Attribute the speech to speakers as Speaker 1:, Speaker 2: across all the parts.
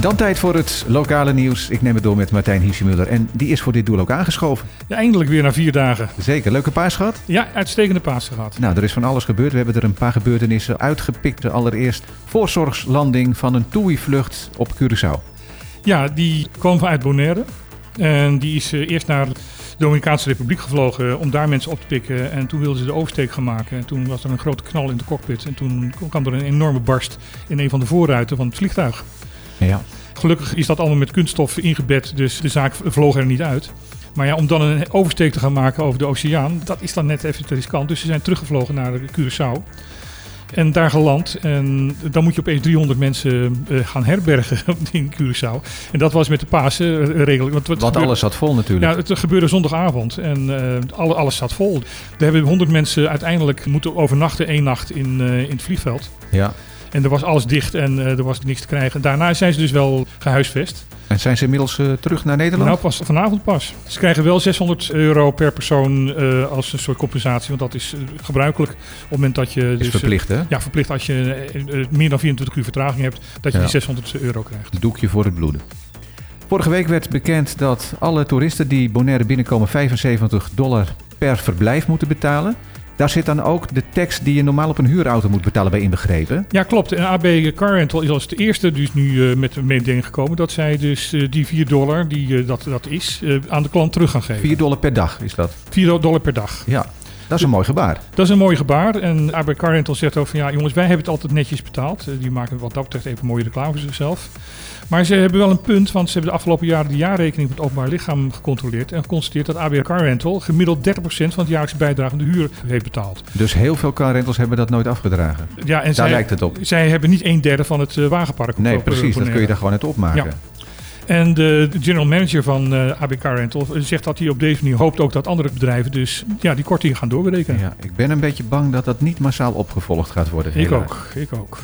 Speaker 1: Dan tijd voor het lokale nieuws. Ik neem het door met Martijn Hiesjemuller. En die is voor dit doel ook aangeschoven.
Speaker 2: Ja, eindelijk weer na vier dagen.
Speaker 1: Zeker. Leuke paas gehad?
Speaker 2: Ja, uitstekende paas gehad.
Speaker 1: Nou, er is van alles gebeurd. We hebben er een paar gebeurtenissen uitgepikt. Allereerst voorzorgslanding van een TUI-vlucht op Curaçao.
Speaker 2: Ja, die kwam vanuit Bonaire. En die is eh, eerst naar de Dominicaanse Republiek gevlogen eh, om daar mensen op te pikken. En toen wilden ze de oversteek gaan maken. En toen was er een grote knal in de cockpit. En toen kwam er een enorme barst in een van de voorruiten van het vliegtuig.
Speaker 1: Ja.
Speaker 2: Gelukkig is dat allemaal met kunststof ingebed, dus de zaak vloog er niet uit. Maar ja, om dan een oversteek te gaan maken over de oceaan, dat is dan net even te riskant. Dus ze zijn teruggevlogen naar eh, Curaçao. En daar geland. En dan moet je opeens 300 mensen eh, gaan herbergen in Curaçao. En dat was met de Pasen eh, redelijk. Want, wat
Speaker 1: Want
Speaker 2: gebeurde-
Speaker 1: alles zat vol natuurlijk.
Speaker 2: ja, het gebeurde zondagavond en eh, alle- alles zat vol. Er hebben 100 mensen uiteindelijk moeten overnachten, één nacht in, eh, in het vliegveld.
Speaker 1: Ja.
Speaker 2: En er was alles dicht en eh, er was niks te krijgen. Daarna zijn ze dus wel gehuisvest.
Speaker 1: En zijn ze inmiddels eh, terug naar Nederland?
Speaker 2: Nou, pas vanavond pas. Ze krijgen wel 600 euro per persoon eh, als een soort compensatie. Want dat is eh, gebruikelijk op het moment dat je...
Speaker 1: is
Speaker 2: dus, eh,
Speaker 1: verplicht hè?
Speaker 2: ja, verplicht als je eh, eh, meer dan 24 uur vertraging hebt, dat je
Speaker 1: Ja.
Speaker 2: die 600 euro krijgt.
Speaker 1: Doekje voor het bloeden. Vorige week werd bekend dat alle toeristen die Bonaire binnenkomen 75 dollar per verblijf moeten betalen. Daar zit dan ook de tekst die je normaal op een huurauto moet betalen bij inbegrepen.
Speaker 2: Ja, klopt. En AB Car Rental is als de eerste dus nu eh, met een mededeling gekomen... dat zij dus eh, die 4 dollar, die eh, dat, dat is, eh, aan de klant terug gaan geven.
Speaker 1: 4 dollar per dag is dat.
Speaker 2: 4 dollar per dag.
Speaker 1: Ja, dat is een mooi gebaar.
Speaker 2: Dat is een mooi gebaar. En AB Car Rental zegt ook van ja, jongens, wij hebben het altijd netjes betaald. Eh, Die maken wat dat betreft even mooie reclame voor zichzelf. Maar ze hebben wel een punt, want ze hebben de afgelopen jaren de jaarrekening van het openbaar lichaam gecontroleerd. En geconstateerd dat AB Car Rental gemiddeld 30% van het jaarlijkse bijdrage aan de huur heeft betaald.
Speaker 1: Dus heel veel carrentals hebben dat nooit afgedragen.
Speaker 2: Ja, en
Speaker 1: Daar
Speaker 2: zij,
Speaker 1: lijkt het op.
Speaker 2: zij hebben niet een derde van het eh, wagenpark. op-
Speaker 1: Nee,
Speaker 2: op- op-
Speaker 1: precies. Dat
Speaker 2: op-
Speaker 1: kun je daar gewoon uit opmaken.
Speaker 2: En de general manager van eh AB Car Rental zegt dat hij op deze manier hoopt ook dat andere bedrijven dus ja, die korting gaan doorberekenen.
Speaker 1: Ja, ik ben een beetje bang dat dat niet massaal opgevolgd gaat worden.
Speaker 2: ik
Speaker 1: helaas.
Speaker 2: ook, ik ook.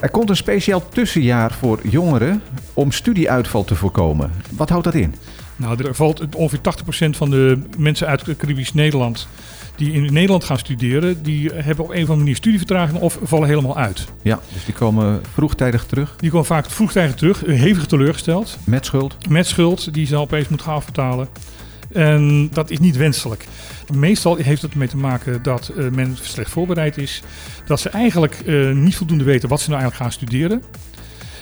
Speaker 1: Er komt een speciaal tussenjaar voor jongeren om studieuitval te voorkomen. Wat houdt dat in?
Speaker 2: Nou, er valt ongeveer 80% van de mensen uit Caribisch Nederland die in Nederland gaan studeren, die hebben op een of andere manier studievertraging of vallen helemaal uit.
Speaker 1: Ja, dus die komen vroegtijdig terug
Speaker 2: Die komen vaak vroegtijdig terug, eh, hevig teleurgesteld,
Speaker 1: met schuld.
Speaker 2: met schuld die ze dan opeens moeten gaan afbetalen. En dat is niet wenselijk. Meestal heeft het ermee te maken dat eh, men slecht voorbereid is, dat ze eigenlijk eh, niet voldoende weten wat ze nou eigenlijk gaan studeren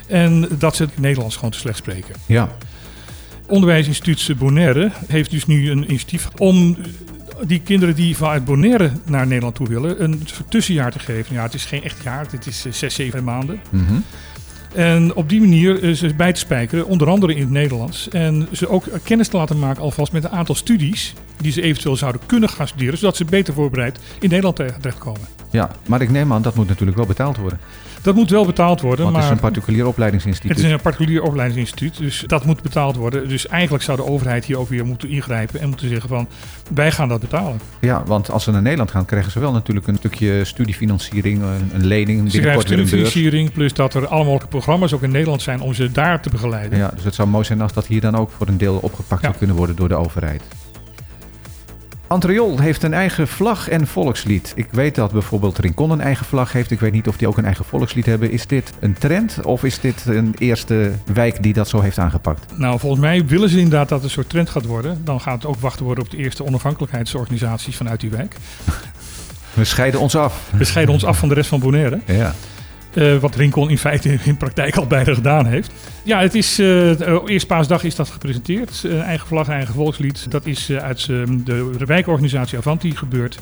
Speaker 2: en dat ze het Nederlands gewoon te slecht spreken.
Speaker 1: Ja,
Speaker 2: Onderwijsinstituut Bonaire heeft dus nu een initiatief om die kinderen die vanuit Bonaire naar Nederland toe willen, een soort tussenjaar te geven. Ja, het is geen echt jaar, dit is eh, zes, zeven maanden.
Speaker 1: mhm.
Speaker 2: En op die manier eh, ze bij te spijkeren, onder andere in het Nederlands. En ze ook eh, kennis te laten maken alvast met een aantal studies die ze eventueel zouden kunnen gaan studeren, zodat ze beter voorbereid in Nederland te- terechtkomen.
Speaker 1: ja. Maar ik neem aan, dat moet natuurlijk wel betaald worden.
Speaker 2: Dat moet wel betaald worden,
Speaker 1: Want het
Speaker 2: maar...
Speaker 1: is een particulier
Speaker 2: Het
Speaker 1: opleidingsinstituut.
Speaker 2: is een particulier opleidingsinstituut, dus dat moet betaald worden. Dus eigenlijk zou de overheid hier ook weer moeten ingrijpen en moeten zeggen van wij gaan dat betalen.
Speaker 1: Ja, want als ze naar Nederland gaan, krijgen ze wel natuurlijk een stukje studiefinanciering, een, een lening,
Speaker 2: Ze krijgen
Speaker 1: binnenkort weer een beurs.
Speaker 2: studiefinanciering, plus dat er alle mogelijke programma's ook in Nederland zijn om ze daar te begeleiden.
Speaker 1: Ja, dus het zou mooi zijn als dat hier dan ook voor een deel opgepakt
Speaker 2: Ja.
Speaker 1: zou kunnen worden door de overheid. Antriol heeft een eigen vlag en volkslied. Ik weet dat bijvoorbeeld Rincon een eigen vlag heeft. Ik weet niet of die ook een eigen volkslied hebben. Is dit een trend of is dit een eerste wijk die dat zo heeft aangepakt?
Speaker 2: Nou, volgens mij willen ze inderdaad dat het een soort trend gaat worden. Dan gaat het ook wachten worden op de eerste onafhankelijkheidsorganisaties vanuit die wijk.
Speaker 1: We scheiden ons af.
Speaker 2: We scheiden ons af van de rest van Bonaire.
Speaker 1: Ja.
Speaker 2: Eh, wat Rincon in feite in, in praktijk al bijna gedaan heeft. Ja, het is, eh, eh, eerst paasdag is dat gepresenteerd. Eh, eigen vlag, eigen volkslied. Dat is eh, uit eh, de wijkorganisatie Avanti gebeurd.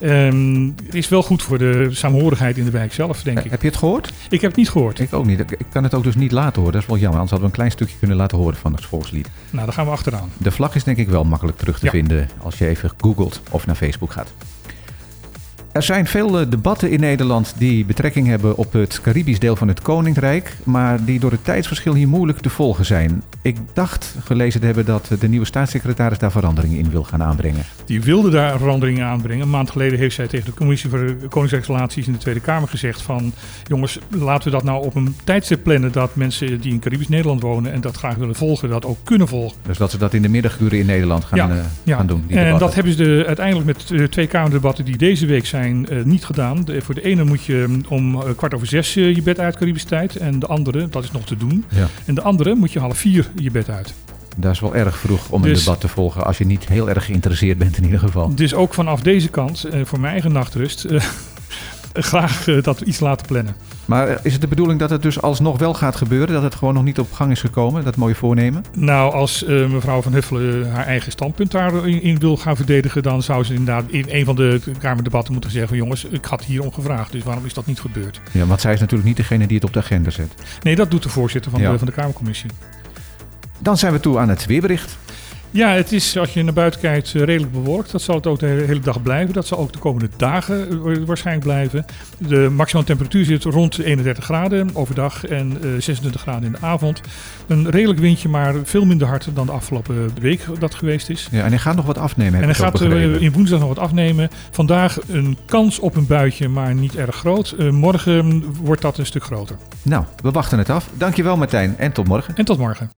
Speaker 2: Ehm, het is wel goed voor de saamhorigheid in de wijk zelf, denk ik.
Speaker 1: Heb je het gehoord?
Speaker 2: Ik heb het niet gehoord.
Speaker 1: Ik ook niet. Ik ik kan het ook dus niet laten horen. Dat is wel jammer. Anders hadden we een klein stukje kunnen laten horen van het volkslied.
Speaker 2: Nou, daar gaan we achteraan.
Speaker 1: De vlag is denk ik wel makkelijk terug te
Speaker 2: Ja.
Speaker 1: vinden als je even googelt of naar Facebook gaat. Er zijn veel eh, debatten in Nederland die betrekking hebben op het Caribisch deel van het Koninkrijk, maar die door het tijdsverschil hier moeilijk te volgen zijn. Ik dacht gelezen te hebben dat de nieuwe staatssecretaris daar verandering in wil gaan aanbrengen.
Speaker 2: Die wilde daar veranderingen aanbrengen. Een maand geleden heeft zij tegen de Commissie voor de Koningsrijksrelaties in de Tweede Kamer gezegd van... jongens, laten we dat nou op een tijdstip plannen dat mensen die in Caribisch Nederland wonen... en dat graag willen volgen, dat ook kunnen volgen.
Speaker 1: Dus dat ze dat in de middaguren in Nederland gaan, eh, gaan doen. die
Speaker 2: en
Speaker 1: debatten.
Speaker 2: dat hebben ze de, uiteindelijk met de twee eh, Kamerdebatten die deze week zijn zijn eh, niet gedaan. De- voor de ene moet je mm, om eh, kwart over zes eh, je bed uit Caribische tijd. En de andere, dat is nog te doen.
Speaker 1: Ja.
Speaker 2: En de andere moet je half vier je bed uit.
Speaker 1: Dat is wel erg vroeg om een
Speaker 2: Dus-
Speaker 1: debat te volgen. Als je niet heel erg geïnteresseerd bent in ieder geval.
Speaker 2: Dus ook vanaf deze kant, eh, voor mijn eigen nachtrust, eh, graag eh, dat iets laten plannen.
Speaker 1: Maar eh, is het de bedoeling dat het dus alsnog wel gaat gebeuren? Dat het gewoon nog niet op gang is gekomen, dat mooie voornemen?
Speaker 2: Nou, als eh, mevrouw Van Huffelen eh, haar eigen standpunt daarin in wil gaan verdedigen, dan zou ze inderdaad in een van de Kamerdebatten moeten zeggen: van, jongens, ik had hierom gevraagd, dus waarom is dat niet gebeurd?
Speaker 1: Ja, want zij is natuurlijk niet degene die het op de agenda zet.
Speaker 2: Nee, dat doet de voorzitter van,
Speaker 1: Ja.
Speaker 2: de, van de Kamercommissie.
Speaker 1: Dan zijn we toe aan het weerbericht.
Speaker 2: Ja, het is als je naar buiten kijkt eh, redelijk bewolkt. Dat zal het ook de he- hele dag blijven. Dat zal ook de komende dagen eh, wa- waarschijnlijk blijven. De maximale temperatuur zit rond de 31 graden overdag en eh, 26 graden in de avond. Een redelijk windje, maar veel minder hard dan de afgelopen week dat geweest is.
Speaker 1: Ja, en hij gaat nog wat afnemen,
Speaker 2: En
Speaker 1: heb
Speaker 2: hij
Speaker 1: ik ook
Speaker 2: gaat eh,
Speaker 1: begrepen.
Speaker 2: in woensdag nog wat afnemen. Vandaag een kans op een buitje, maar niet erg groot. Eh, morgen wordt dat een stuk groter.
Speaker 1: Nou, we wachten het af. Dankjewel Martijn en tot morgen.
Speaker 2: En tot morgen.